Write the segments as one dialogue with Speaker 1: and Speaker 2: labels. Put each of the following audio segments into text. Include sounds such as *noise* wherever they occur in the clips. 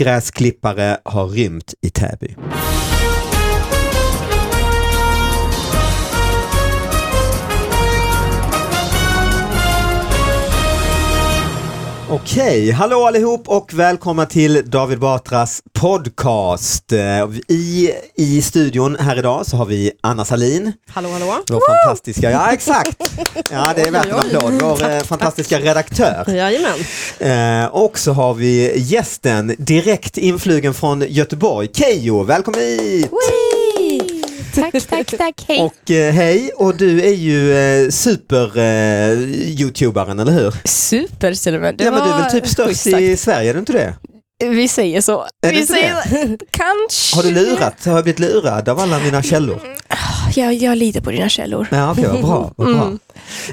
Speaker 1: Robotgräsklippare har rymt i Täby. Okej, hallå allihop och välkomna till David Batras podcast. Eh, I, I studion här idag så har vi Anna Salin.
Speaker 2: Hallå, hallå.
Speaker 1: Vår fantastiska, ja exakt! Ja det är värt en applåd, vår eh, fantastiska redaktör.
Speaker 2: Jajamän.
Speaker 1: Eh, och så har vi gästen direkt influgen från Göteborg, Keyyo, välkommen hit!
Speaker 3: Tack, tack,
Speaker 1: *laughs*
Speaker 3: tack. Hej.
Speaker 1: Och eh, hej, och du är ju eh, super-youtubaren, eller hur?
Speaker 3: Super till och med. Det
Speaker 1: ja men du är
Speaker 3: var
Speaker 1: väl typ
Speaker 3: schysst
Speaker 1: störst
Speaker 3: sagt.
Speaker 1: i Sverige, är du inte det?
Speaker 3: Vi säger så.
Speaker 1: Är det
Speaker 3: Vi
Speaker 1: inte
Speaker 3: säger så. *laughs* Kanske.
Speaker 1: Har du lurat? Har jag blivit lurad av alla mina källor?
Speaker 3: Jag, jag litar på dina källor.
Speaker 1: Ja, okej, vad bra. Vad bra.
Speaker 3: Mm.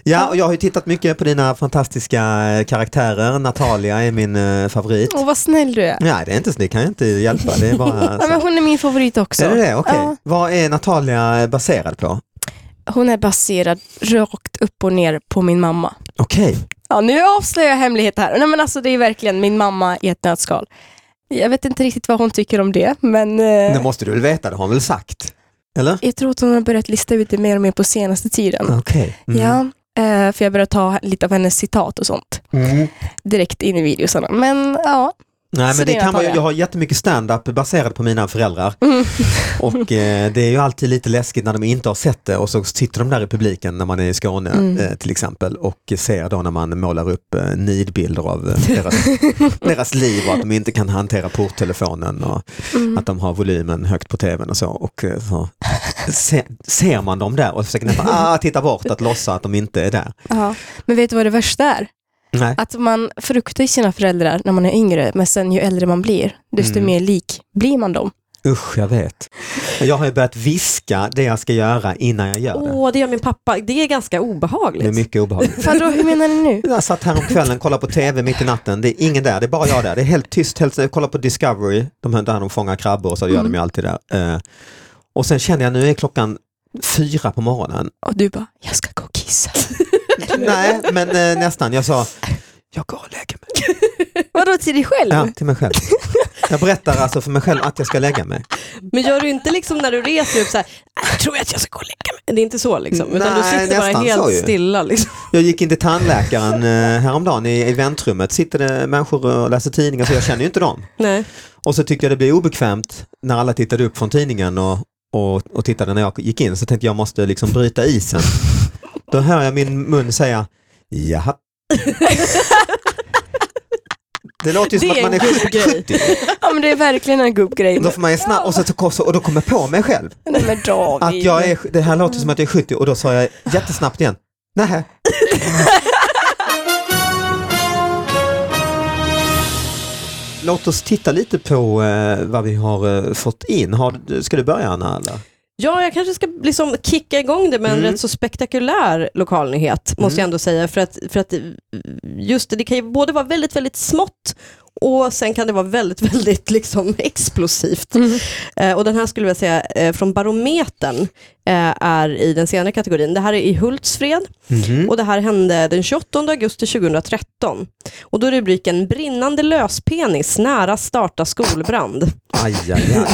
Speaker 1: Ja, och jag har ju tittat mycket på dina fantastiska eh, karaktärer, Natalia är min eh, favorit.
Speaker 3: Åh, vad snäll du är.
Speaker 1: Nej, det är inte så, det kan jag inte hjälpa, det är bara
Speaker 3: *laughs* Ja, men
Speaker 1: så.
Speaker 3: hon är min favorit också.
Speaker 1: Är det det? Okej.
Speaker 3: Ja,
Speaker 1: Vad är Natalia baserad på?
Speaker 3: hon är baserad rakt upp och ner på min mamma.
Speaker 1: Okej,
Speaker 3: Ja, nu avslöjar jag hemlighet här. Nej, men alltså, det är verkligen min mamma i ett nötskal. Jag vet inte riktigt vad hon tycker om det, men eh,
Speaker 1: det måste du väl veta, det har hon väl sagt? Eller?
Speaker 3: jag tror att hon har börjat lista ut det mer och mer på senaste tiden.
Speaker 1: Okej. Mm.
Speaker 3: Ja, eh, för jag börjar ta lite av hennes citat och sånt.
Speaker 1: Mm.
Speaker 3: direkt in i videosarna. Men ja,
Speaker 1: Nej
Speaker 3: Så
Speaker 1: men
Speaker 3: det
Speaker 1: det
Speaker 3: är
Speaker 1: kan man, ju-
Speaker 3: Natalia.
Speaker 1: jag har jättemycket stand-up baserat på mina föräldrar
Speaker 3: Mm.
Speaker 1: *laughs* och eh, det är ju alltid lite läskigt när de inte har sett det och så sitter de där i publiken när man är i Skåne
Speaker 3: Mm.
Speaker 1: eh, till exempel och ser då när man målar upp eh, nidbilder av eh,
Speaker 3: *laughs*
Speaker 1: deras, deras liv och att de inte kan hantera porttelefonen och
Speaker 3: Mm.
Speaker 1: att de har volymen högt på tvn och så och eh, så se, ser man dem där och försöker nästan ah, titta bort att låtsas att de inte är där.
Speaker 3: ja. Men vet du vad det värsta är?
Speaker 1: Nej.
Speaker 3: Att man fruktar ju sina föräldrar när man är yngre, men sen ju äldre man blir, desto
Speaker 1: Mm.
Speaker 3: mer lik blir man dem.
Speaker 1: Usch, jag vet. Jag har ju börjat viska det jag ska göra innan jag gör det.
Speaker 2: Åh, det gör min pappa. Det är ganska obehagligt.
Speaker 1: Det är mycket obehagligt.
Speaker 3: Vadå, hur menar ni *laughs* nu?
Speaker 1: Jag satt här om kvällen kollade på tv mitt i natten, det är ingen där, det är bara jag där. Det är helt tyst, helt, jag kollar på Discovery, de här där de fångar krabbor och så gör de ju alltid där. Eh, och sen känner jag nu är klockan fyra på morgonen.
Speaker 3: Och du bara, jag ska gå och kissa.
Speaker 1: Nej, men eh, nästan. Jag sa, jag går och lägger mig.
Speaker 3: Vadå, till dig själv?
Speaker 1: Ja, till mig själv. Jag berättar alltså för mig själv att jag ska lägga mig.
Speaker 2: Men gör du inte liksom när du reser upp så här, jag tror att jag ska gå och lägga mig. Det är inte så liksom, utan
Speaker 1: Nej,
Speaker 2: du sitter bara
Speaker 1: nästan så ju.
Speaker 2: helt stilla. Liksom.
Speaker 1: Jag gick in till tandläkaren eh, häromdagen i, i väntrummet, sitter det människor och läser tidningar så jag känner ju inte dem.
Speaker 2: Nej.
Speaker 1: Och så tyckte jag det blev obekvämt när alla tittade upp från tidningen och, och, och tittade när jag gick in så tänkte jag måste liksom bryta isen. Då hör jag min mun säga jaha.
Speaker 2: *laughs*
Speaker 1: Det låter ju som
Speaker 2: Det
Speaker 1: att
Speaker 2: är
Speaker 1: man är
Speaker 2: en god grej.
Speaker 1: 70.
Speaker 3: *laughs* Ja, men det är verkligen en gubbgrej.
Speaker 1: Då får man ju snabbt, och, så, så- och då kommer jag på mig själv
Speaker 3: Nej men David.
Speaker 1: att jag är, det här låter som att jag är 70 och då sa jag jättesnabbt igen, nej. *laughs* Låt oss titta lite på eh, vad vi har eh, fått in. Har, du- ska du börja Anna? Eller?
Speaker 2: Ja, jag kanske ska liksom kicka igång det med en
Speaker 1: Mm.
Speaker 2: rätt så spektakulär lokalnyhet, måste jag ändå säga. För att, för att eh, just det, det kan ju både vara väldigt, väldigt smått och sen kan det vara väldigt, *laughs* väldigt liksom explosivt.
Speaker 1: Mm.
Speaker 2: Eh, och den här skulle jag säga eh, från Barometern eh, är i den senare kategorin. Det här är i Hultsfred
Speaker 1: Mm.
Speaker 3: Mhm.
Speaker 2: och det här hände den 28 augusti 2013. Och då är rubriken “Brinnande löspenis nära starta skolbrand”.
Speaker 1: Aj, aj,
Speaker 3: *laughs*
Speaker 1: aj.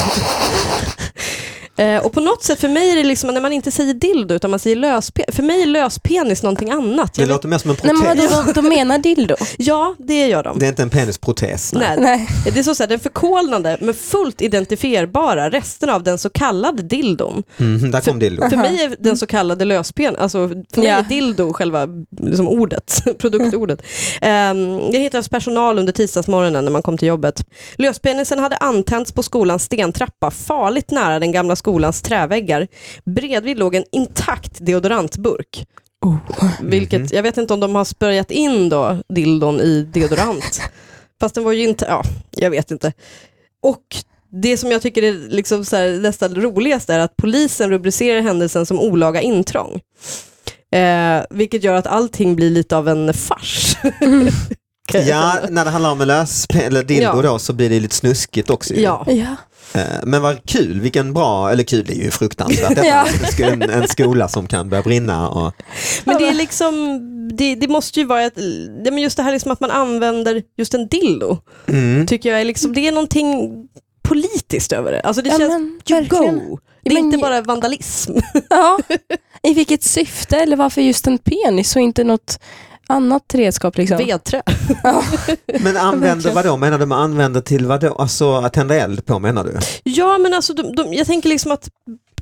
Speaker 2: Eh, och på något sätt för mig är det liksom när man inte säger dildo utan man säger löspenis. För mig är löspenis någonting annat.
Speaker 1: Det
Speaker 2: Jag vet,
Speaker 1: låter mer som en
Speaker 3: Nej men vadå,
Speaker 1: protes.
Speaker 3: de, de menar dildo?
Speaker 2: ja, det gör de.
Speaker 1: Det är inte en penisprotes. Nej.
Speaker 2: Nej.
Speaker 3: *laughs* Nej.
Speaker 2: Det är så, så här, den förkolnande men fullt identifierbara resten av den så kallade dildon.
Speaker 1: Mhm, där kom dildo.
Speaker 2: För mig är den så kallade löspen, alltså för mig
Speaker 3: Ja.
Speaker 2: är dildo själva liksom ordet, *laughs* produktordet. Um, det hittades personal under tisdagsmorgonen när man kom till jobbet. Löspenisen hade antänts på skolans stentrappa, farligt nära den gamla skolans träväggar. Bredvid låg en intakt deodorantburk.
Speaker 3: Oh. Mhm.
Speaker 2: Vilket, jag vet inte om de har sprayat in då dildon i
Speaker 3: *laughs*
Speaker 2: deodorant. Fast den var ju inte, ja, jag vet inte. Och det som jag tycker är liksom så här, nästan roligast är att polisen rubricerar händelsen som olaga intrång. Eh, vilket gör att allting blir lite av en fars. Kan jag
Speaker 1: Ja,
Speaker 2: känna.
Speaker 1: när det handlar om en lös eller dildo
Speaker 2: Ja.
Speaker 1: då så blir det lite snuskigt också. ju.
Speaker 2: ja.
Speaker 3: *laughs* Ja.
Speaker 1: Eh, Men vad kul, vilken bra, eller kul är ju fruktansvärt. Detta
Speaker 3: *laughs* Ja.
Speaker 1: är en, en skola som kan börja brinna. Och,
Speaker 2: *laughs* Men det är liksom, det, det måste ju vara ett, det, men just det här liksom att man använder just en dildo,
Speaker 1: mm.
Speaker 2: tycker jag är liksom, det är någonting politiskt över det. Alltså det
Speaker 3: Ja,
Speaker 2: känns,
Speaker 3: men
Speaker 2: you
Speaker 3: verkligen.
Speaker 2: go. Det är
Speaker 3: men-
Speaker 2: inte bara vandalism.
Speaker 3: Ja. *laughs* I vilket syfte eller varför just en penis och inte något annat redskap liksom?
Speaker 2: Vedträ.
Speaker 1: Men använder
Speaker 3: verkligen.
Speaker 1: vadå, menar du man använder till vadå, alltså att tända eld på menar du?
Speaker 2: Ja men alltså de, de, jag tänker liksom att,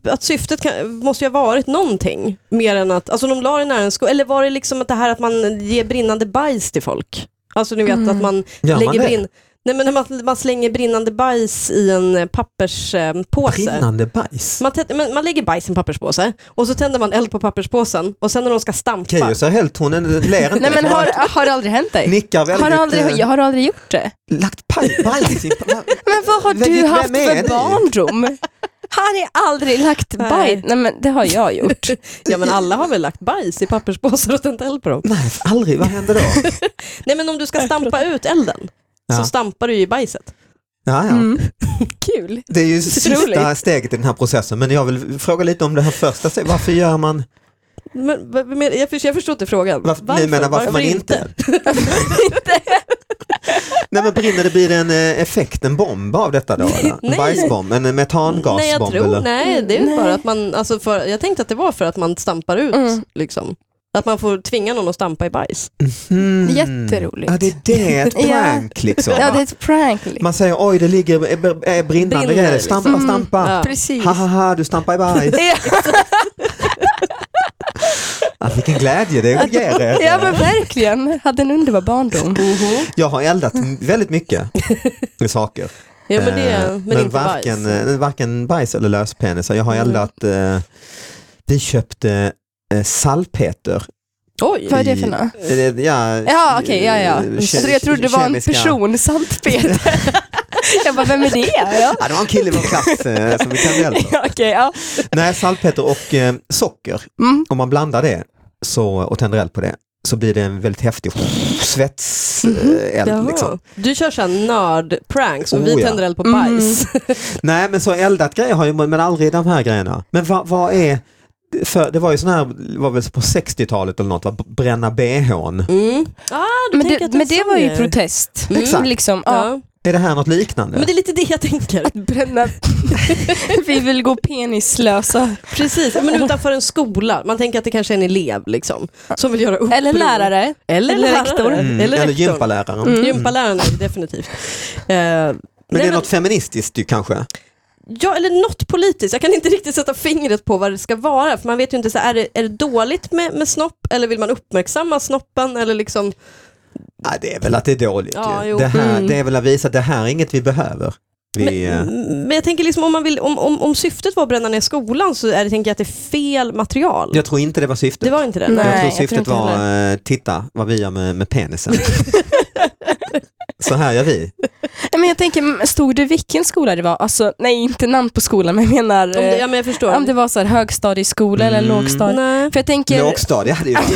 Speaker 2: att syftet kan, måste ju ha varit någonting mer än att, alltså de la det nära en sko, eller var det liksom att det här att man ger brinnande bajs till folk? Alltså ni vet
Speaker 3: Mm.
Speaker 2: att man
Speaker 1: Gör man
Speaker 2: lägger
Speaker 1: det?
Speaker 2: brinn, nej men när man, man slänger brinnande bajs i en eh, papperspåse.
Speaker 1: Brinnande bajs?
Speaker 2: Man, tänder- men man lägger bajs i en papperspåse och så tänder man eld på papperspåsen och sen när de ska stampa.
Speaker 1: Keyyo är helt, hon ler inte.
Speaker 3: *laughs* Nej men
Speaker 1: Hon bara
Speaker 3: har, har det aldrig hänt dig?
Speaker 1: Nickar väldigt.
Speaker 3: Har du aldrig,
Speaker 1: eh,
Speaker 3: jag har du aldrig gjort det?
Speaker 1: Lagt paj- bajs
Speaker 3: *laughs*
Speaker 1: i...
Speaker 3: Men vad har
Speaker 1: Vilket-
Speaker 3: du
Speaker 1: vem
Speaker 3: haft
Speaker 1: är ni?
Speaker 3: för barndom? *laughs* Har ni aldrig lagt
Speaker 2: Nej.
Speaker 3: bajs? Nej men det har jag gjort.
Speaker 2: *laughs* Ja men alla har väl lagt bajs i papperspåsar och tänt eld på dem.
Speaker 1: Nej, aldrig. Vad händer då?
Speaker 3: *laughs*
Speaker 2: Nej men om du ska stampa ut elden så
Speaker 1: Ja.
Speaker 2: stampar du ju i bajset.
Speaker 1: *laughs* Ja, ja.
Speaker 3: Mm. Kul.
Speaker 1: Det är ju sista
Speaker 3: Otroligt.
Speaker 1: steget i den här processen, men jag vill fråga lite om det här första steget. Varför gör man,
Speaker 2: Men, vad- vad menar- jag, förstår, jag förstår inte frågan.
Speaker 1: varför, ni menar varför, man inte? *laughs* Nej men brinner det, blir det en eh, effekt, en bomb av detta då?
Speaker 3: *laughs*
Speaker 1: Eller? En
Speaker 2: Nej.
Speaker 1: bajsbomb, en metangasbomb?
Speaker 2: Nej, jag tror,
Speaker 1: eller?
Speaker 2: nej, det är
Speaker 3: Nej.
Speaker 2: bara att man, alltså för, jag tänkte att det var för att man stampar ut,
Speaker 3: Mm.
Speaker 2: liksom. Att man får tvinga någon att stampa i bajs.
Speaker 1: Mm.
Speaker 3: Jätteroligt.
Speaker 1: Ja det är det,
Speaker 3: *laughs*
Speaker 1: ett
Speaker 3: Ja.
Speaker 1: prank liksom.
Speaker 3: Ja det Mm. är ett prank. liksom.
Speaker 1: Man säger oj det ligger eh, br- eh, brinnande
Speaker 2: Brinner,
Speaker 1: grejer,
Speaker 2: liksom.
Speaker 1: stampa, stampa.
Speaker 2: Ja.
Speaker 3: Precis.
Speaker 1: *laughs* Ha ha ha, du stampar i
Speaker 3: *laughs*
Speaker 1: bajs. Ah, vilken glädje det ger er.
Speaker 3: Ja men verkligen, hade en underbar barndom. Mm-hmm.
Speaker 1: Jag har eldat m- väldigt
Speaker 3: *laughs*
Speaker 1: mycket i saker.
Speaker 2: Ja, men det,
Speaker 1: Eh,
Speaker 2: men inte
Speaker 1: varken,
Speaker 2: bajs.
Speaker 1: eh, varken bajs eller löspenisar. Jag har
Speaker 2: Mm.
Speaker 1: eldat, eh, vi köpte eh, salpeter.
Speaker 2: Oj,
Speaker 3: Vad är det
Speaker 1: i-
Speaker 3: för nå?
Speaker 1: eh, Ja,
Speaker 3: Ja okej, ja ja.
Speaker 1: eh,
Speaker 3: Så
Speaker 1: ke-
Speaker 3: jag trodde det var en
Speaker 1: kemiska-
Speaker 3: person, Sankt Peter.
Speaker 1: *laughs*
Speaker 3: Jag bara, vem är det? Ja.
Speaker 1: Ja, det var en kille i vår klass eh, som vi kan elda.
Speaker 3: *laughs* Ja, *laughs* okej, ja.
Speaker 1: Nej, salpeter och eh, socker.
Speaker 3: Mm.
Speaker 1: Om man blandar det så, och tänder eld på det så blir det en väldigt häftig svetseld.
Speaker 2: Jaha.
Speaker 1: liksom.
Speaker 2: Du kör såhär nörd-pranks och vi
Speaker 1: Oh, ja.
Speaker 2: tänder eld
Speaker 3: Mm.
Speaker 2: på bajs.
Speaker 1: Nej, men så eldat grejer har ju, men aldrig de här grejerna. Men vad, vad är, för det var ju sån här, var väl på 60-talet eller något, va? bränna bhn.
Speaker 2: Mm. Ah, du
Speaker 3: Men,
Speaker 2: tänker
Speaker 3: det,
Speaker 2: att är
Speaker 3: men det
Speaker 2: en
Speaker 3: var ju
Speaker 2: sån grej.
Speaker 3: protest.
Speaker 2: Mm.
Speaker 1: Exakt.
Speaker 3: Liksom, ja.
Speaker 2: Ja.
Speaker 1: Är det här något liknande?
Speaker 2: Men det är lite det jag tänker.
Speaker 3: Bränna. *laughs* Vi vill gå penislösa.
Speaker 2: Precis, men utanför en skola. Man tänker att det kanske är en elev liksom, som vill göra uppror.
Speaker 3: Eller lärare.
Speaker 2: Eller,
Speaker 3: Eller
Speaker 2: lärare.
Speaker 3: rektor.
Speaker 1: Mm,
Speaker 2: Eller,
Speaker 1: eller
Speaker 2: rektorn.
Speaker 1: gympaläraren.
Speaker 2: Mm.
Speaker 1: Mm.
Speaker 2: Gympaläraren, är det definitivt. Eh,
Speaker 1: Men
Speaker 2: nej,
Speaker 1: det är något feministiskt ju kanske?
Speaker 2: Ja, eller något politiskt. Jag kan inte riktigt sätta fingret på vad det ska vara. För man vet ju inte, så här, är, det, är det dåligt med, med snopp? Eller vill man uppmärksamma snoppen? Eller liksom,
Speaker 1: Ja, det är väl att det är dåligt
Speaker 2: Ja,
Speaker 1: ju.
Speaker 2: jo.
Speaker 1: Det, här,
Speaker 3: Mm.
Speaker 1: det är väl att visa att det här är inget vi behöver. Vi, eh,
Speaker 2: Men jag tänker liksom, om, man vill, om, om, om syftet var att bränna ner skolan så är det, tänker jag att det är fel material.
Speaker 1: jag tror inte det var syftet.
Speaker 2: Det var inte det?
Speaker 3: Nej.
Speaker 1: jag tror
Speaker 3: jag tror
Speaker 1: syftet
Speaker 3: inte
Speaker 1: var, eh, titta vad vi gör med, med
Speaker 3: *laughs*
Speaker 1: penisen. Så här gör vi.
Speaker 3: Nej, Men jag tänker, mm, stod det vilken skola det var? Alltså, nej, inte namn på skolan, men jag menar
Speaker 2: Om det,
Speaker 3: eh,
Speaker 2: ja, men jag förstår.
Speaker 3: om det var så här, högstadieskola eller
Speaker 1: Mm.
Speaker 3: lågstadie.
Speaker 2: Nej.
Speaker 3: För jag tänker,
Speaker 1: Lågstadie hade ju varit.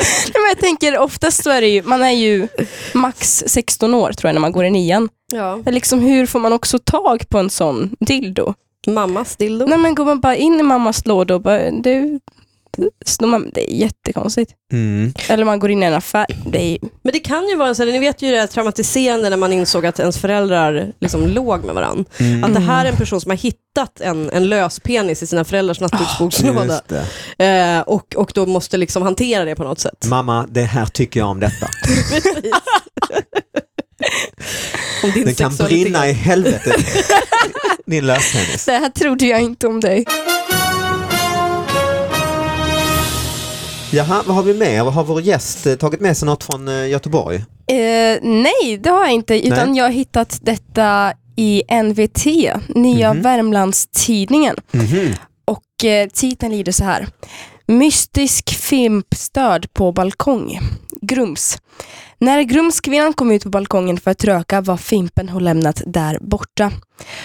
Speaker 3: nej, *laughs* men jag tänker, oftast så är det ju, man är ju max 16 år tror jag när man går i nian.
Speaker 2: Ja.
Speaker 3: Men Liksom, hur får man också tag på en sån dildo?
Speaker 2: Mammas dildo.
Speaker 3: Nej men går man bara in i mammas låda och bara, du, snor man, det är jättekonstigt.
Speaker 1: Mm.
Speaker 3: Eller man går in i en affär, det är
Speaker 2: Men det kan ju vara så här, ni vet ju det här traumatiserande när man insåg att ens föräldrar liksom låg med varandra.
Speaker 1: Mm.
Speaker 2: Att det här är en person som har hittat en, en lös penis i sina föräldrars nattduksbordslåda.
Speaker 1: Just det.
Speaker 2: Eh, och, och då måste liksom hantera det på något sätt.
Speaker 1: Mamma, det här tycker jag om
Speaker 3: *laughs*
Speaker 1: detta.
Speaker 2: *laughs* Om din
Speaker 1: Den Mm. kan
Speaker 2: sexualitet.
Speaker 1: brinna i helvete. Din löspenis.
Speaker 3: Det här trodde jag inte om dig.
Speaker 1: Jaha, vad har vi mer? Har vår gäst eh, tagit med sig något från eh, Göteborg?
Speaker 3: Eh, nej, det har jag inte. Utan
Speaker 1: Nej.
Speaker 3: jag har hittat detta i NVT, Nya
Speaker 1: Mhm.
Speaker 3: Värmlandstidningen. Och eh, titeln lyder så här. Mystisk fimpstöd på balkong. Grums. När grumskvinnan kom ut på balkongen för att röka var Fimpen hon lämnat där borta.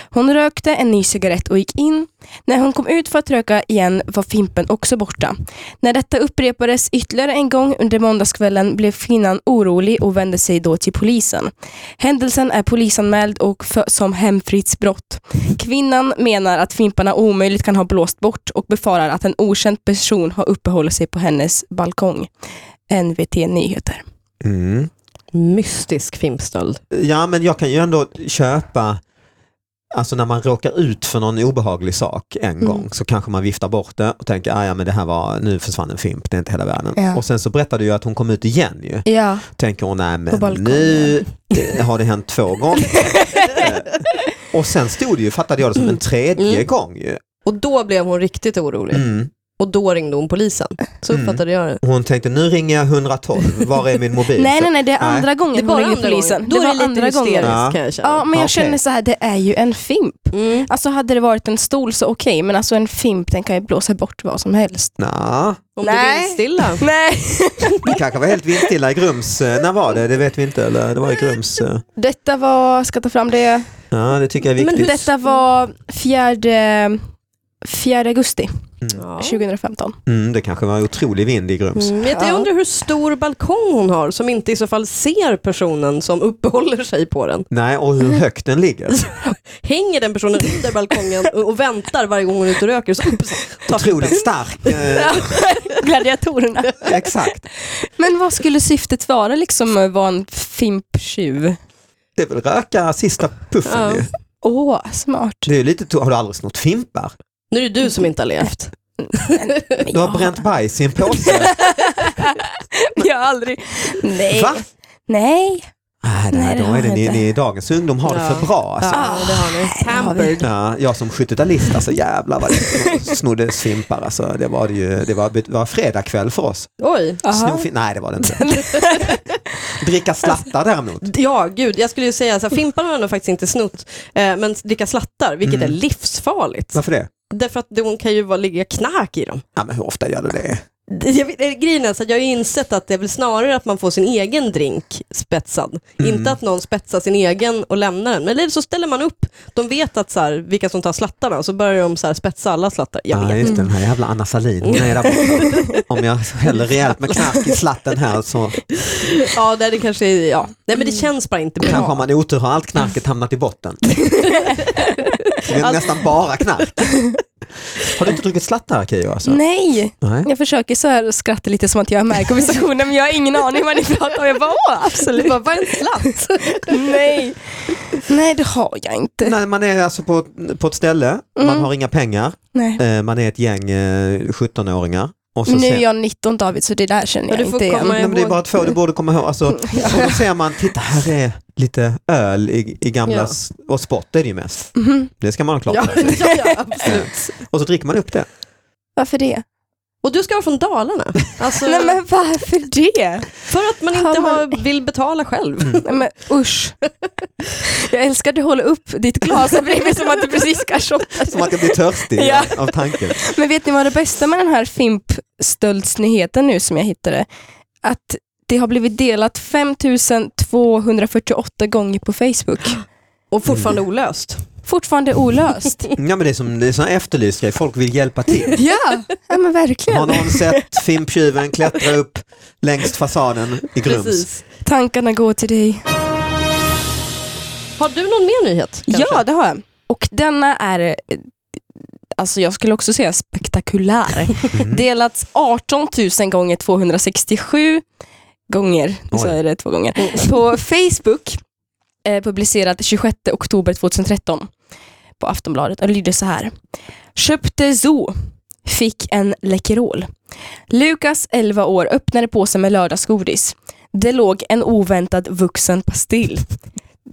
Speaker 3: Hon rökte en ny cigarett och gick in. När hon kom ut för att röka igen var Fimpen också borta. När detta upprepades ytterligare en gång under måndagskvällen blev kvinnan orolig och vände sig då till polisen. Händelsen är polisanmäld och för, som hemfridsbrott. Kvinnan menar att fimparna omöjligt kan ha blåst bort och befarar att en okänd person har uppehållit sig på hennes balkong. NVT Nyheter.
Speaker 1: Mm.
Speaker 2: Mystisk filmstöld.
Speaker 1: Ja, men jag kan ju ändå köpa, alltså när man råkar ut för någon obehaglig sak en
Speaker 3: Mm.
Speaker 1: gång så kanske man viftar bort det och tänker, "Ah, ja men det här var, nu försvann en fimp, det är inte hela världen.
Speaker 3: Ja.
Speaker 1: Och sen så berättar du ju att hon kom ut igen ju.
Speaker 3: Ja.
Speaker 1: Tänker hon, nej
Speaker 3: På
Speaker 1: men
Speaker 3: balkongen."
Speaker 1: nu eh, har det hänt två gånger. Eh, och sen stod det ju, fattade jag det som en tredje
Speaker 2: Mm.
Speaker 1: gång ju.
Speaker 2: *laughs* Och då blev hon riktigt orolig.
Speaker 1: Mm.
Speaker 2: Och då ringde hon polisen. Så
Speaker 1: Mm.
Speaker 2: uppfattade jag det.
Speaker 1: Hon tänkte, nu ringer jag 112, var är min mobil?
Speaker 3: Nej,
Speaker 1: Så-
Speaker 3: nej, nej, det är andra
Speaker 2: Det
Speaker 3: gången
Speaker 2: är
Speaker 3: hon
Speaker 2: bara
Speaker 3: ringer
Speaker 2: andra
Speaker 3: polisen.
Speaker 2: gången. Då
Speaker 3: det
Speaker 2: är
Speaker 3: var
Speaker 2: det lite
Speaker 3: andra
Speaker 2: hysteriskt
Speaker 3: gången.
Speaker 1: Ja.
Speaker 2: kan jag känna.
Speaker 3: Ja, men jag
Speaker 1: Okej.
Speaker 3: känner så här, det är ju en fimp.
Speaker 2: Mm.
Speaker 3: Alltså hade det varit en stol så okej, men alltså en fimp den kan ju blåsa bort vad som helst.
Speaker 1: Nå,
Speaker 2: Om
Speaker 3: Nej.
Speaker 2: du
Speaker 3: *laughs*
Speaker 2: vill stilla.
Speaker 3: Nej.
Speaker 1: det kanske var helt vindstilla i Grums, eh, när var det? Det vet vi inte, eller det var i Grums. eh.
Speaker 3: Detta var, ska jag ta fram det,
Speaker 1: Ja, det tycker jag är
Speaker 2: Men
Speaker 1: viktigt.
Speaker 2: hur-
Speaker 3: detta var 4, 4 augusti
Speaker 2: Ja.
Speaker 3: 2015.
Speaker 1: Mm, det kanske var en otrolig vind i Grums.
Speaker 2: Mm, vet du, jag
Speaker 3: Ja.
Speaker 2: undrar hur stor balkong hon har som inte i så fall ser personen som uppehåller sig på den.
Speaker 1: Nej, och hur högt den ligger.
Speaker 3: *laughs*
Speaker 2: Hänger den personen under balkongen och och väntar varje gång hon är ute och röker? Så, ups, tar
Speaker 1: Otroligt stark.
Speaker 3: *laughs*
Speaker 1: Eh,
Speaker 3: Gladiatorerna.
Speaker 1: exakt.
Speaker 3: Men vad skulle syftet vara liksom med att vara en fimptjuv?
Speaker 1: Det är väl röka sista puffen
Speaker 2: Ja.
Speaker 1: ju.
Speaker 3: Åh, smart. *laughs*
Speaker 1: Det är ju lite to- har du aldrig snott fimpar?
Speaker 2: Nu är det du som inte har levt.
Speaker 1: Du har bränt bajs i en påse.
Speaker 3: *laughs* Jag har aldrig... *laughs* Nej.
Speaker 1: Va?
Speaker 3: Nej.
Speaker 1: Nej, det,
Speaker 3: Nej,
Speaker 1: här,
Speaker 3: det
Speaker 1: då
Speaker 3: har
Speaker 1: är det,
Speaker 3: jag
Speaker 1: ni,
Speaker 3: inte.
Speaker 1: ni dagens ungdom har det
Speaker 2: Ja.
Speaker 1: för bra. Alltså.
Speaker 2: Ja, det har ni. Pampered.
Speaker 1: Ja, jag som 70-talist, alltså jävlar vad det snoddes fimpar. Alltså, det var, det ju, det var, det var fredagkväll för oss.
Speaker 2: Oj.
Speaker 3: Aha.
Speaker 1: Sno fim- Nej, det var det inte. Dricka slattar däremot.
Speaker 2: *laughs*
Speaker 3: Mm.
Speaker 2: Ja, gud. Jag skulle ju säga så här, Fimparna har nog faktiskt inte snott, eh, men dricka slattar, vilket är livsfarligt.
Speaker 1: Varför det?
Speaker 2: Därför att det- hon kan ju vara, ligga knark i dem.
Speaker 1: Ja, men hur ofta gör du det?
Speaker 2: Det- Jag, vet- eh, grejen är så att jag har ju insett att det är väl snarare att man får sin egen drink spetsad. Inte att någon spetsar sin egen och lämnar den. Men eller så ställer man upp, de vet att så här, vilka som tar slattarna, så börjar de så här, spetsa alla slattar. Jag
Speaker 1: Ja,
Speaker 2: vet. Mm.
Speaker 1: just det, den här jävla Anna Sahlin. Hon är där
Speaker 2: *laughs*
Speaker 1: borta. Om jag häller rejält med knark i slatten här så
Speaker 2: Ja, det, är det kanske är, ja. Nej, men det känns bara inte
Speaker 1: kanske
Speaker 2: bra.
Speaker 1: om man är otur har allt knarket hamnat i
Speaker 2: *laughs*
Speaker 1: botten. Det
Speaker 2: Alltså-
Speaker 1: är nästan bara knark. Har du inte druckit slattar Keyyo? Alltså?
Speaker 3: Nej.
Speaker 1: Nej.
Speaker 3: Jag försöker så här skratta lite som att jag är med i konversationen men jag har ingen aning vad ni pratar om. Jag bara, åh, absolut.
Speaker 2: var bara en slatt.
Speaker 3: Nej. Nej, det har jag inte.
Speaker 1: Nej, man är alltså på, på ett ställe, man
Speaker 2: Mm.
Speaker 1: har inga pengar,
Speaker 3: Nej.
Speaker 1: eh, man är ett gäng eh, 17-åringar. Och så
Speaker 3: Nu är
Speaker 1: ser-
Speaker 3: jag 19 David så det där känner
Speaker 2: Ja,
Speaker 3: jag
Speaker 2: du får
Speaker 3: inte igen.
Speaker 2: komma
Speaker 1: Nej, men det är bara två, du borde komma ihåg. Alltså,
Speaker 2: Mm,
Speaker 1: och då ser man, titta här är lite öl i, i gamla,
Speaker 2: Ja.
Speaker 1: s- och spott är det ju mest.
Speaker 3: Mhm.
Speaker 1: Det ska man ha klart
Speaker 2: Ja,
Speaker 1: för sig.
Speaker 2: ja, absolut.
Speaker 1: Eh, Och så dricker man upp det.
Speaker 3: Varför det?
Speaker 2: Och du ska vara från Dalarna. Alltså,
Speaker 3: Nej men varför det?
Speaker 2: För att man inte
Speaker 3: Har man-
Speaker 2: Har, vill betala själv.
Speaker 3: Nej men usch. *laughs* Jag älskar att du håller upp ditt glas här bredvid som att du precis ska shotta.
Speaker 1: Som att jag blir
Speaker 2: *laughs*
Speaker 1: törstig
Speaker 3: Ja.
Speaker 1: av tanken.
Speaker 3: Men vet ni vad det bästa med den här fimpstöldsnyheten nu som jag hittade? Att det har blivit delat 5248 gånger på Facebook.
Speaker 2: Och fortfarande olöst.
Speaker 3: Fortfarande olöst.
Speaker 1: Ja men det är som det är sån här efterlyst grej, folk vill hjälpa till.
Speaker 3: ja, ja men
Speaker 1: Har
Speaker 3: verkligen.
Speaker 1: någon sett fimptjuven klättra upp längst fasaden i Grums?
Speaker 2: Precis.
Speaker 3: Tankarna går till dig.
Speaker 2: Har du någon mer nyhet? kanske?
Speaker 3: Ja, det har jag. Och denna är, eh, alltså jag skulle också säga spektakulär. Delats 18 000 gånger 267 gånger, nu sa
Speaker 1: Oj.
Speaker 3: jag det två gånger, på Facebook, eh, publicerat 26 oktober 2013 på Aftonbladet och lyder så här. Köpte zoo, fick en Läkerol. Lukas, 11 år, öppnade påsen med lördagsgodis. Det låg en oväntad vuxen pastill.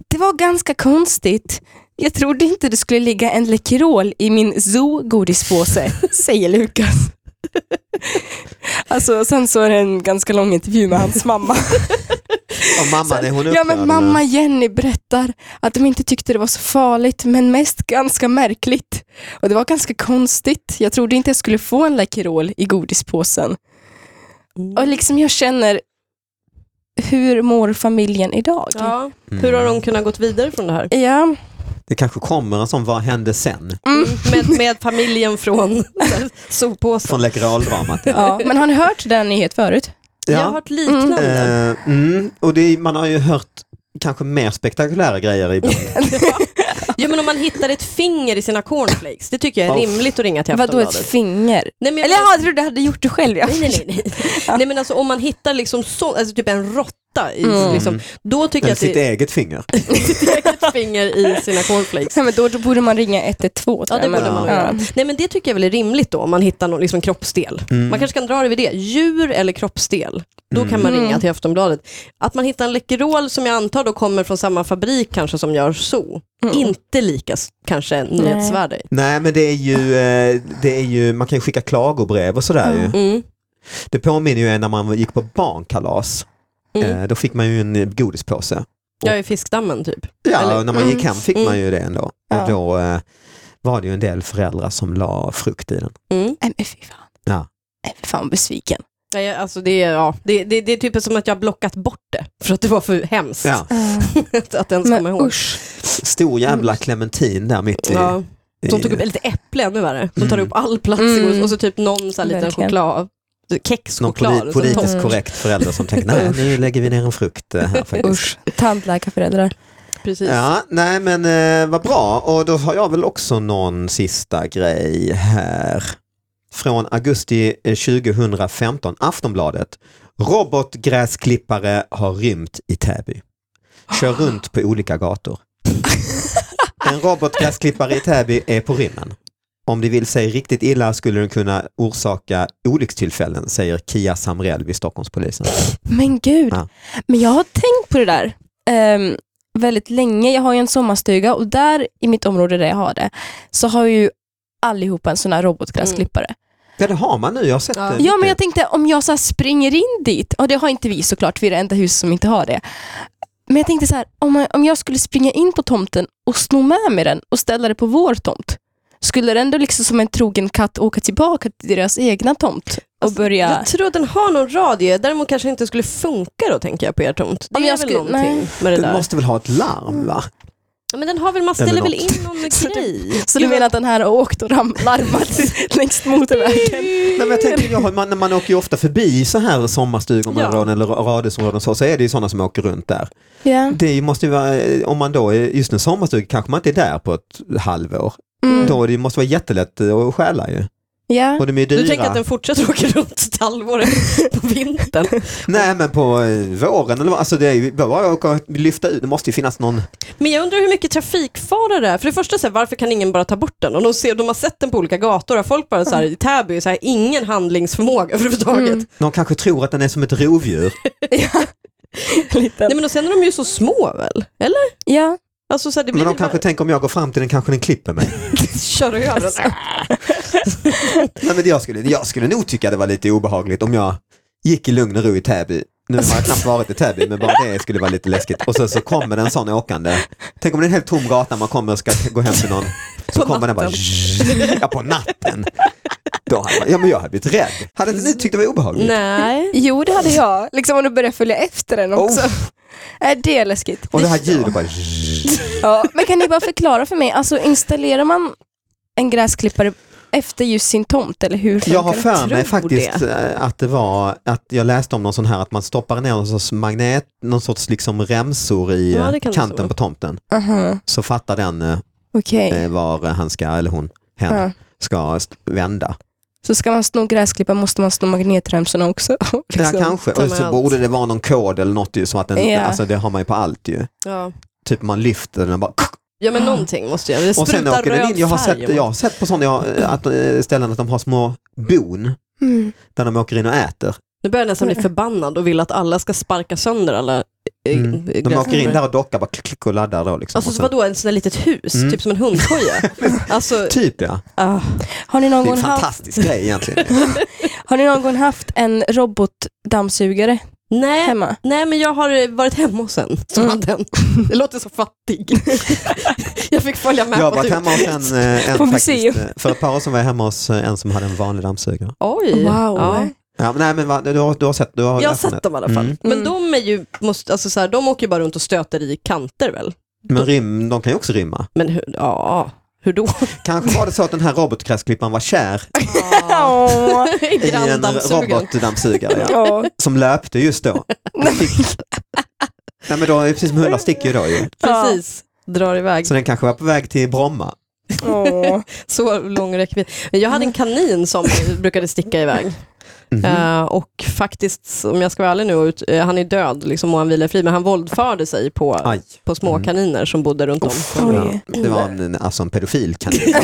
Speaker 3: Det var ganska konstigt. Jag trodde inte det skulle ligga en Läkerol i min zoo godispåse, säger Lukas. Alltså, sen så är det en ganska lång intervju med hans mamma.
Speaker 1: Och mamman, är hon
Speaker 3: Ja, men
Speaker 1: upprörd,
Speaker 3: mamma
Speaker 1: eller?
Speaker 3: Jenny berättar att de inte tyckte det var så farligt, men mest ganska märkligt. Och det var ganska konstigt. Jag trodde inte jag skulle få en Läkerol i godispåsen. Och liksom jag känner, hur mår familjen idag?
Speaker 2: Ja. Hur har de kunnat gått vidare från det här?
Speaker 3: Ja.
Speaker 1: Mm. Det kanske kommer en sån Vad hände sen?
Speaker 2: *laughs* Med, med familjen från *laughs* soppåsen.
Speaker 1: Från Läkerol-dramat.
Speaker 3: ja. Men har ni hört den nyhet förut?
Speaker 2: *laughs* Jag har hört liknande.
Speaker 1: Eh, mm, och det, är- man har ju hört kanske mer spektakulära grejer
Speaker 2: *laughs*
Speaker 1: ibland.
Speaker 2: Ja, men om man hittar ett finger i sina cornflakes, det tycker jag är
Speaker 1: Uff.
Speaker 2: rimligt att ringa till
Speaker 3: Vadå ett
Speaker 2: Aftonbladet.
Speaker 3: finger?
Speaker 2: Nej, men jag-
Speaker 3: Eller jaha, jag trodde du hade gjort det själv. Ja.
Speaker 2: Nej, nej,
Speaker 3: *laughs*
Speaker 2: nej. nej. nej men alltså om man hittar liksom så, alltså typ en råtta, i,
Speaker 3: Mm.
Speaker 2: liksom, då tycker
Speaker 1: Eller
Speaker 2: jag att
Speaker 1: sitt
Speaker 2: det är
Speaker 1: eget finger.
Speaker 2: ett finger i sina cornflakes.
Speaker 3: Ja, men då, då borde man ringa 112.
Speaker 2: Ja, det borde man nog göra. Nej, men det tycker jag väl är rimligt då, om man hittar någon liksom, kroppsdel.
Speaker 1: Mm.
Speaker 2: Man kanske kan dra det vid det. Djur eller kroppsdel, då kan man
Speaker 3: Mm.
Speaker 2: ringa till Aftonbladet. Att man hittar en Läkerol som jag antar då kommer från samma fabrik kanske som gör så.
Speaker 3: Mm.
Speaker 2: Inte lika s- kanske nyhetsvärde.
Speaker 1: Nej men det är ju, eh, det är ju man kan ju skicka klagobrev och sådär ju.
Speaker 2: Mm.
Speaker 1: Det påminner ju en när man gick på barnkalas.
Speaker 2: Mm.
Speaker 1: Eh, Då fick man ju en godispåse.
Speaker 2: Jag är fiskdammen typ.
Speaker 1: Ja,
Speaker 2: Eller-
Speaker 1: och när man
Speaker 3: Mm.
Speaker 1: gick hem fick man ju det ändå.
Speaker 3: Ja.
Speaker 1: Och då eh, var det ju en del föräldrar som la frukt i den.
Speaker 2: Mm.
Speaker 3: Nej men fy fan.
Speaker 1: Ja.
Speaker 3: Nej fy fan besviken.
Speaker 2: Nej, jag- Alltså det, är, ja, det, det, det är typ som att jag har blockat bort det för att det var för hemskt
Speaker 1: Ja.
Speaker 2: *laughs* att, att ens komma
Speaker 3: men
Speaker 2: ihåg.
Speaker 3: usch.
Speaker 1: Stor jävla clementin där mitt i.
Speaker 2: Ja,
Speaker 1: i-
Speaker 2: de tog upp lite äpple ännu värre. De tar
Speaker 1: Mm.
Speaker 2: upp all plats
Speaker 3: Mm.
Speaker 2: och så typ någon så här liten
Speaker 3: Verkligen.
Speaker 2: choklad,
Speaker 1: någon
Speaker 2: kexchoklad.
Speaker 1: poli-
Speaker 2: som toppar.
Speaker 1: politiskt korrekt förälder som tänkte nej nu lägger vi ner en frukt eh, här faktiskt.
Speaker 3: Usch. Tandläkarföräldrar.
Speaker 2: Precis.
Speaker 1: Ja, nej men eh, vad bra och då har jag väl också någon sista grej här. Från augusti eh, 2015, Aftonbladet. Robotgräsklippare har rymt i Täby. Kör runt på olika
Speaker 2: *laughs*
Speaker 1: gator. En robotgräsklippare i Täby är på rymmen. Om det vill sig riktigt illa skulle den kunna orsaka olyckstillfällen, säger Kia Samrell vid Stockholmspolisen.
Speaker 3: Men gud.
Speaker 1: Ja.
Speaker 3: Men jag har tänkt på det där ehm, väldigt länge. Jag har ju en sommarstuga och där i mitt område där jag har det så har ju allihopa en sån här robotgräsklippare.
Speaker 1: Ja, det har man nu. Jag har sett
Speaker 2: Ja.
Speaker 1: det.
Speaker 3: Ja men jag tänkte om jag så här springer in dit, och det har inte vi såklart, vi är det enda hus som inte har det. Men jag tänkte så här, om jag, om jag skulle springa in på tomten och sno med mig den och ställa det på vår tomt, skulle den då liksom som en trogen katt åka tillbaka till deras egna tomt och
Speaker 1: Alltså,
Speaker 3: börja...
Speaker 2: Alltså, Jag tror att den har någon radie, däremot kanske inte skulle funka då tänker jag på er tomt. Det
Speaker 3: Om
Speaker 2: är
Speaker 3: jag
Speaker 2: väl
Speaker 3: skulle-
Speaker 2: någonting
Speaker 3: nej.
Speaker 2: med det
Speaker 1: Den
Speaker 2: där.
Speaker 1: måste väl ha ett larm va?
Speaker 2: Ja, Men den har väl, man
Speaker 1: Eller
Speaker 2: ställer väl
Speaker 1: något. *laughs*
Speaker 2: in någon
Speaker 3: Så det-
Speaker 2: grej.
Speaker 3: Så du menar att den här har åkt och ram- larmat
Speaker 1: *laughs*
Speaker 3: längs motorvägen?
Speaker 1: Nej, men jag tänker, jag, har- man, man åker ju ofta förbi så här sommarstugområden eller radhusområden och så, så är det ju sådana som åker runt där.
Speaker 3: Ja.
Speaker 1: Det är ju- måste ju vara, eh, om man då är just en sommarstuga kanske man inte är där på ett halvår.
Speaker 3: Mm.
Speaker 1: Då det måste vara jättelätt eh, att stjäla ju.
Speaker 3: ja.
Speaker 1: Och de är ju
Speaker 2: Du tänker
Speaker 1: dyra.
Speaker 2: att den fortsätter åka runt ett halvår *laughs* på vintern?
Speaker 1: Nej men på eh, våren eller vad, alltså det är ju bara att åka och lyfta ut, det måste ju finnas någon.
Speaker 2: Men jag undrar hur mycket trafikfara det är. För det första, så här, varför kan ingen bara ta bort den? Om de, ser, de har sett den på olika gator, har folk bara så här, i Täby, så här, ingen handlingsförmåga *laughs* överhuvudtaget.
Speaker 3: Mm.
Speaker 1: Någon kanske tror att den är som ett rovdjur.
Speaker 2: Nej men och sen är de ju så små väl? Eller?
Speaker 3: ja.
Speaker 2: Alltså så här, det blir
Speaker 1: Men de
Speaker 2: ju
Speaker 1: kanske tänker om jag går fram till den kanske den klipper mig.
Speaker 2: bara, kör över den.
Speaker 1: Nej, men jag, skulle, jag skulle nog tycka det var lite obehagligt om jag gick i lugn och ro i Täby. Nu har jag knappt varit i Täby men bara det skulle vara lite läskigt. Och sen så kommer det en sån åkande. Tänk om det är en helt tom gata man kommer och ska gå hem till
Speaker 2: *laughs*
Speaker 1: någon. Så
Speaker 2: På
Speaker 1: kommer den bara ja, på natten. Då hade man, ja men jag hade blivit rädd. Hade inte ni tyckt det var obehagligt?
Speaker 2: Nej.
Speaker 3: Jo, det hade jag. Liksom om du börjar följa efter den också. Äh, det är läskigt.
Speaker 1: Oh. Och det här ljudet bara
Speaker 3: Ja, men kan ni bara förklara för mig, alltså installerar man en gräsklippare efter just sin tomt eller hur funkar
Speaker 1: Jag har
Speaker 3: det?
Speaker 1: för mig
Speaker 2: tror
Speaker 1: faktiskt eh, att det var att jag läste om någon sån här att man stoppar ner någon sorts magnet, någon sorts liksom remsor i
Speaker 2: Ja, det
Speaker 1: eh,
Speaker 2: kan det
Speaker 1: kanten
Speaker 2: vara.
Speaker 1: på tomten.
Speaker 3: Aha,
Speaker 1: Så fattar den eh,
Speaker 3: Okej,
Speaker 1: eh, var han ska, eller hon, hen,
Speaker 3: Ja.
Speaker 1: ska st- vända.
Speaker 3: så ska man sno gräsklipparen måste man sno magnetremsorna också? *laughs* liksom.
Speaker 1: Ja, kanske.
Speaker 2: Ta
Speaker 1: Och
Speaker 2: med
Speaker 1: så
Speaker 2: allt.
Speaker 1: borde det vara någon kod eller något ju, som att den,
Speaker 3: Ja.
Speaker 1: alltså det har man ju på allt ju.
Speaker 2: Ja.
Speaker 1: Typ man lyfter den och bara
Speaker 2: ja men någonting måste jag. Det
Speaker 1: och sen
Speaker 2: sprutar
Speaker 1: åker den
Speaker 2: röd
Speaker 1: in. Jag har
Speaker 2: färg
Speaker 1: sett,
Speaker 2: mot-
Speaker 1: jag har sett på sådana jag, att, eh, ställen att de har små bon
Speaker 3: Mm.
Speaker 1: där de åker in och äter.
Speaker 2: Nu börjar jag nästan bli förbannad och vill att alla ska sparka sönder alla eh,
Speaker 1: Mm. De
Speaker 2: gräsklippor.
Speaker 1: åker in där och dockar bara klick, klick och laddar då liksom.
Speaker 2: Alltså
Speaker 1: Och
Speaker 2: så
Speaker 1: sen-
Speaker 2: vadå, en sån där litet hus,
Speaker 1: Mm.
Speaker 2: typ som
Speaker 1: *laughs*
Speaker 2: en hundkoja? alltså,
Speaker 1: Typ ja,
Speaker 2: ah.
Speaker 3: Har, ni någon
Speaker 1: det är en
Speaker 3: gång haft,
Speaker 1: fantastisk grej
Speaker 2: *laughs*
Speaker 1: egentligen.
Speaker 3: har ni någon gång haft en robotdammsugare
Speaker 2: nej,
Speaker 3: hemma?
Speaker 2: nej, men jag har eh, varit hemma hos en som
Speaker 3: Mm.
Speaker 2: hade en. Det låter så fattig.
Speaker 3: *laughs*
Speaker 2: jag fick följa med
Speaker 1: Jag har
Speaker 2: på
Speaker 1: varit
Speaker 2: tur.
Speaker 1: hemma hos en, eh, en
Speaker 3: På
Speaker 1: faktiskt,
Speaker 3: museum.
Speaker 1: eh, för ett par år sedan var jag hemma hos eh, en som hade en vanlig dammsugare.
Speaker 2: Oj.
Speaker 3: Wow.
Speaker 2: Ja.
Speaker 1: Ja, men nej, men va, du, har, du har sett, du har
Speaker 2: Jag har
Speaker 1: läst om
Speaker 2: sett
Speaker 1: det.
Speaker 2: dem i alla fall.
Speaker 1: Mm.
Speaker 2: Men
Speaker 3: Mm.
Speaker 2: de är ju, måste, alltså så här, de åker ju bara runt och stöter i kanter väl?
Speaker 1: Men rim, de kan ju också rymma.
Speaker 2: Men hur, ja, hur då?
Speaker 1: Kanske var det så att den här robotgräsklipparen var kär
Speaker 3: Åh.
Speaker 2: *laughs* I
Speaker 1: i en
Speaker 2: granndammsugaren.
Speaker 1: robotdammsugare ja,
Speaker 3: Ja.
Speaker 1: som löpte just då.
Speaker 3: Nej, men-
Speaker 1: Nej, men då är det precis som hundar sticker ju då ju.
Speaker 2: Precis, drar iväg.
Speaker 1: Så den kanske var på väg till Bromma.
Speaker 3: Åh.
Speaker 2: Så lång räckvidd. Men Jag hade en kanin som brukade sticka iväg.
Speaker 1: Mhm.
Speaker 2: Eh, och faktiskt, om jag ska vara ärlig nu, och ut, eh, han är död liksom, och han vilar fri, men han våldförde sig på,
Speaker 1: Aj.
Speaker 2: på små
Speaker 1: Mm.
Speaker 2: kaniner som bodde runt om.
Speaker 1: Ja, det var en, alltså en pedofil kanin.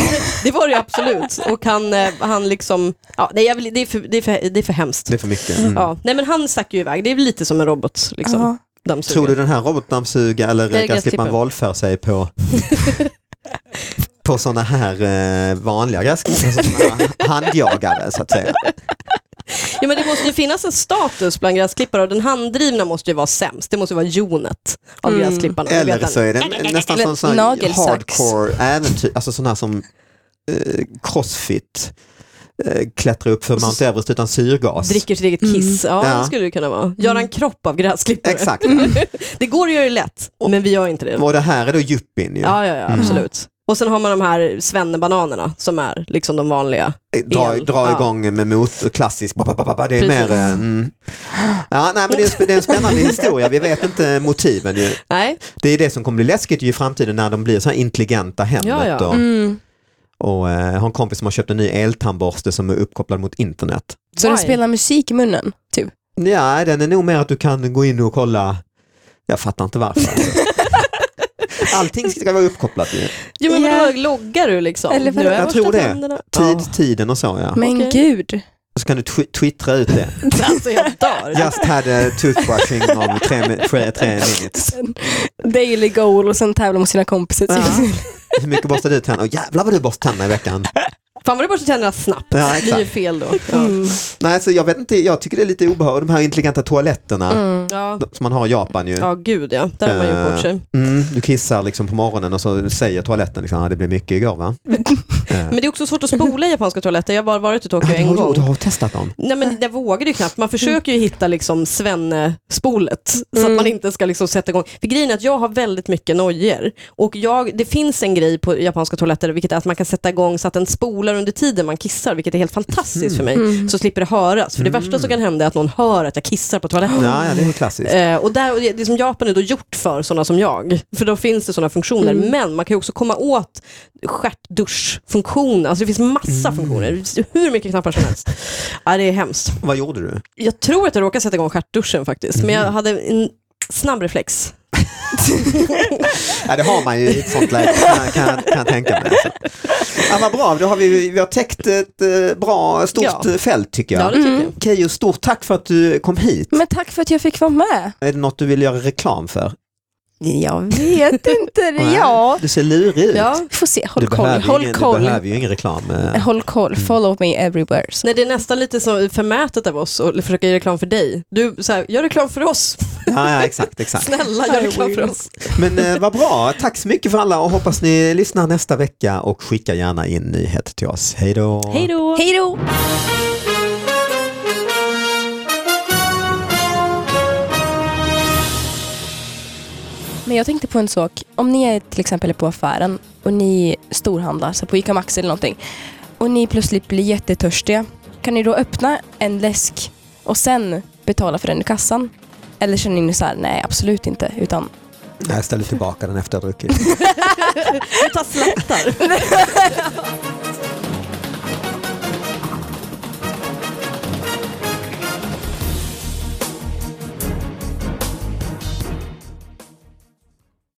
Speaker 2: Det var det ju absolut. Och han, eh, han liksom, ja, nej, jag vill, det, är för, det, är för, det är för hemskt.
Speaker 1: Det är för mycket. Mm.
Speaker 2: Ja, nej, men han stack ju iväg, det är väl lite som en robot. Liksom,
Speaker 3: Ja.
Speaker 2: dammsugare.
Speaker 1: Tror du den här robotdammsugaren
Speaker 2: Det
Speaker 1: eller
Speaker 2: är
Speaker 1: gräsklipparen
Speaker 2: gräsklipparen.
Speaker 1: våldför sig på på sådana här eh, vanliga gräsklippare, alltså såna här handjagare så att säga.
Speaker 2: Ja, men det måste ju finnas en status bland gräsklippare och den handdrivna måste ju vara sämst. Det måste ju vara jonet av
Speaker 3: Mm.
Speaker 2: gräsklipparna. Det
Speaker 1: Eller
Speaker 2: vet
Speaker 1: så
Speaker 2: han.
Speaker 1: är det nästan som sån här
Speaker 3: Nagelsax.
Speaker 1: hardcore äventyr, alltså sån här som eh, crossfit, eh, klättra upp för Mount Everest utan syrgas.
Speaker 2: Dricker sitt eget kiss, ja,
Speaker 1: Mm. Ja. Mm.
Speaker 2: det skulle det kunna vara. Göra en kropp av gräsklippare.
Speaker 1: Exakt.
Speaker 2: Det går att göra det lätt, men vi gör inte det.
Speaker 1: Och det här är då yuppien ju.
Speaker 2: Ja, ja, ja
Speaker 1: Mm.
Speaker 2: absolut. Och sen har man de här svennebananerna som är liksom de vanliga.
Speaker 1: dra,
Speaker 2: El.
Speaker 1: dra
Speaker 2: Ja.
Speaker 1: igång med motor, klassisk, ba, ba, ba, ba, ba, det är
Speaker 2: Precis.
Speaker 1: mer... eh, Mm. Ja, nej, men det, är, en sp- det är en
Speaker 2: *laughs*
Speaker 1: spännande historia, vi vet inte motiven ju.
Speaker 2: Nej,
Speaker 1: Det är det som kommer bli läskigt ju i framtiden när de blir så här intelligenta hemmet.
Speaker 2: Ja, ja.
Speaker 1: Och,
Speaker 3: Mm.
Speaker 1: och eh, jag har en kompis som har köpt en ny eltandborste som är uppkopplad mot internet.
Speaker 3: Så den
Speaker 2: Why?
Speaker 3: spelar musik i munnen, typ?
Speaker 1: Ja, den är nog mer att du kan gå in och kolla, jag fattar inte varför. Allting ska vara uppkopplat ju.
Speaker 2: jo, men
Speaker 3: Ja.
Speaker 2: vadå, loggar du liksom?
Speaker 3: Eller vadå?
Speaker 2: Nu har
Speaker 1: Jag
Speaker 2: borstat
Speaker 1: tror det.
Speaker 2: tänderna.
Speaker 1: Tid,
Speaker 2: Ja.
Speaker 1: tiden och så ja.
Speaker 3: Men
Speaker 2: Okej. *laughs*
Speaker 3: gud.
Speaker 1: Och så kan du twi- twittra ut det.
Speaker 2: Alltså jag
Speaker 1: *laughs*
Speaker 2: dör.
Speaker 1: Just had a toothbrushing on tre, mi- tre, tre minutes.
Speaker 3: Daily goal och sen tävla mot sina kompisar. typ.
Speaker 1: Ja. Hur mycket borstar du tänderna? Åh, Jävlar vad du borstar tänderna i veckan.
Speaker 2: *laughs* Fan vad du borstar tänderna snabbt.
Speaker 1: Ja,
Speaker 2: det är ju
Speaker 1: exakt. *laughs*
Speaker 2: fel då. Ja.
Speaker 3: Mm.
Speaker 1: Nej, så jag vet inte, jag tycker det är lite obehagligt, de här intelligenta toaletterna
Speaker 3: Mm.
Speaker 2: Ja.
Speaker 1: som man har i Japan ju.
Speaker 2: ja, gud ja. Där har man gjort bort sig.
Speaker 1: Mm, du kissar liksom på morgonen och så säger toaletten liksom, ah, det blev mycket igår va?
Speaker 2: Men det är också svårt att spola i japanska toaletter. Jag har bara varit i Tokyo en
Speaker 1: du,
Speaker 2: gång.
Speaker 1: du har testat dem?
Speaker 2: Nej men jag vågade ju knappt. Man försöker ju hitta liksom svenne-spolet så att man inte ska liksom sätta igång. För grejen är att jag har väldigt mycket nojor och jag, det finns en grej på japanska toaletter vilket är att man kan sätta igång så att den spolar under tiden man kissar vilket är helt fantastiskt för mig. Så slipper det höras. För det värsta som kan hända är att någon hör att jag kissar på toaletten.
Speaker 1: Ja, ja det är klassiskt.
Speaker 2: Eh, och där, och det, det som Japan är då gjort för sådana som jag, för då finns det sådana funktioner. Men man kan ju också komma åt stjärtduschfunktion, alltså det finns massa funktioner, hur mycket knappar som helst. Ja, det är hemskt.
Speaker 1: Vad gjorde du?
Speaker 2: Jag tror att jag råkade sätta igång stjärtduschen faktiskt, men jag hade en snabb reflex.
Speaker 1: Ja, det har man ju i ett sånt läge, kan, kan, kan jag tänka mig. Alltså. Ja, vad bra, då har vi, vi har täckt ett eh, bra, stort
Speaker 2: Ja.
Speaker 1: eh, fält tycker
Speaker 2: Ja, Mm.
Speaker 1: jag.
Speaker 2: det tycker jag.
Speaker 1: Keyyo, stort tack för att du kom hit.
Speaker 3: Men tack för att jag fick vara med.
Speaker 1: Är det något du vill göra reklam för?
Speaker 3: Jag vet inte.
Speaker 1: Nej,
Speaker 3: ja.
Speaker 1: Du ser lurig ut.
Speaker 2: Ja.
Speaker 3: Vi får se. Håll
Speaker 1: Du,
Speaker 3: koll.
Speaker 1: behöver ju
Speaker 3: Håll
Speaker 1: ingen, du
Speaker 3: koll.
Speaker 1: behöver ju ingen reklam. eh.
Speaker 3: Håll koll. Follow me everywhere.
Speaker 2: Nej, det är nästan lite så förmätet av oss att försöka göra reklam för dig. Du, så här, gör reklam för oss.
Speaker 1: Ja, ja, exakt, exakt.
Speaker 2: Snälla, gör reklam för oss.
Speaker 1: Men eh, vad bra, tack så mycket för alla och hoppas ni lyssnar nästa vecka och skicka gärna in nyheter till oss. Hej då!
Speaker 2: Hej då!
Speaker 3: Hej då! Men jag tänkte på en sak. Om ni är till exempel på affären och ni storhandlar, så på ICA Maxi eller någonting, och ni plötsligt blir jättetörstiga, kan ni då öppna en läsk och sen betala för den i kassan? Eller känner ni så här, nej absolut inte, utan
Speaker 1: Jag ställer tillbaka den efter jag har druckit.
Speaker 2: Vi tar slattar.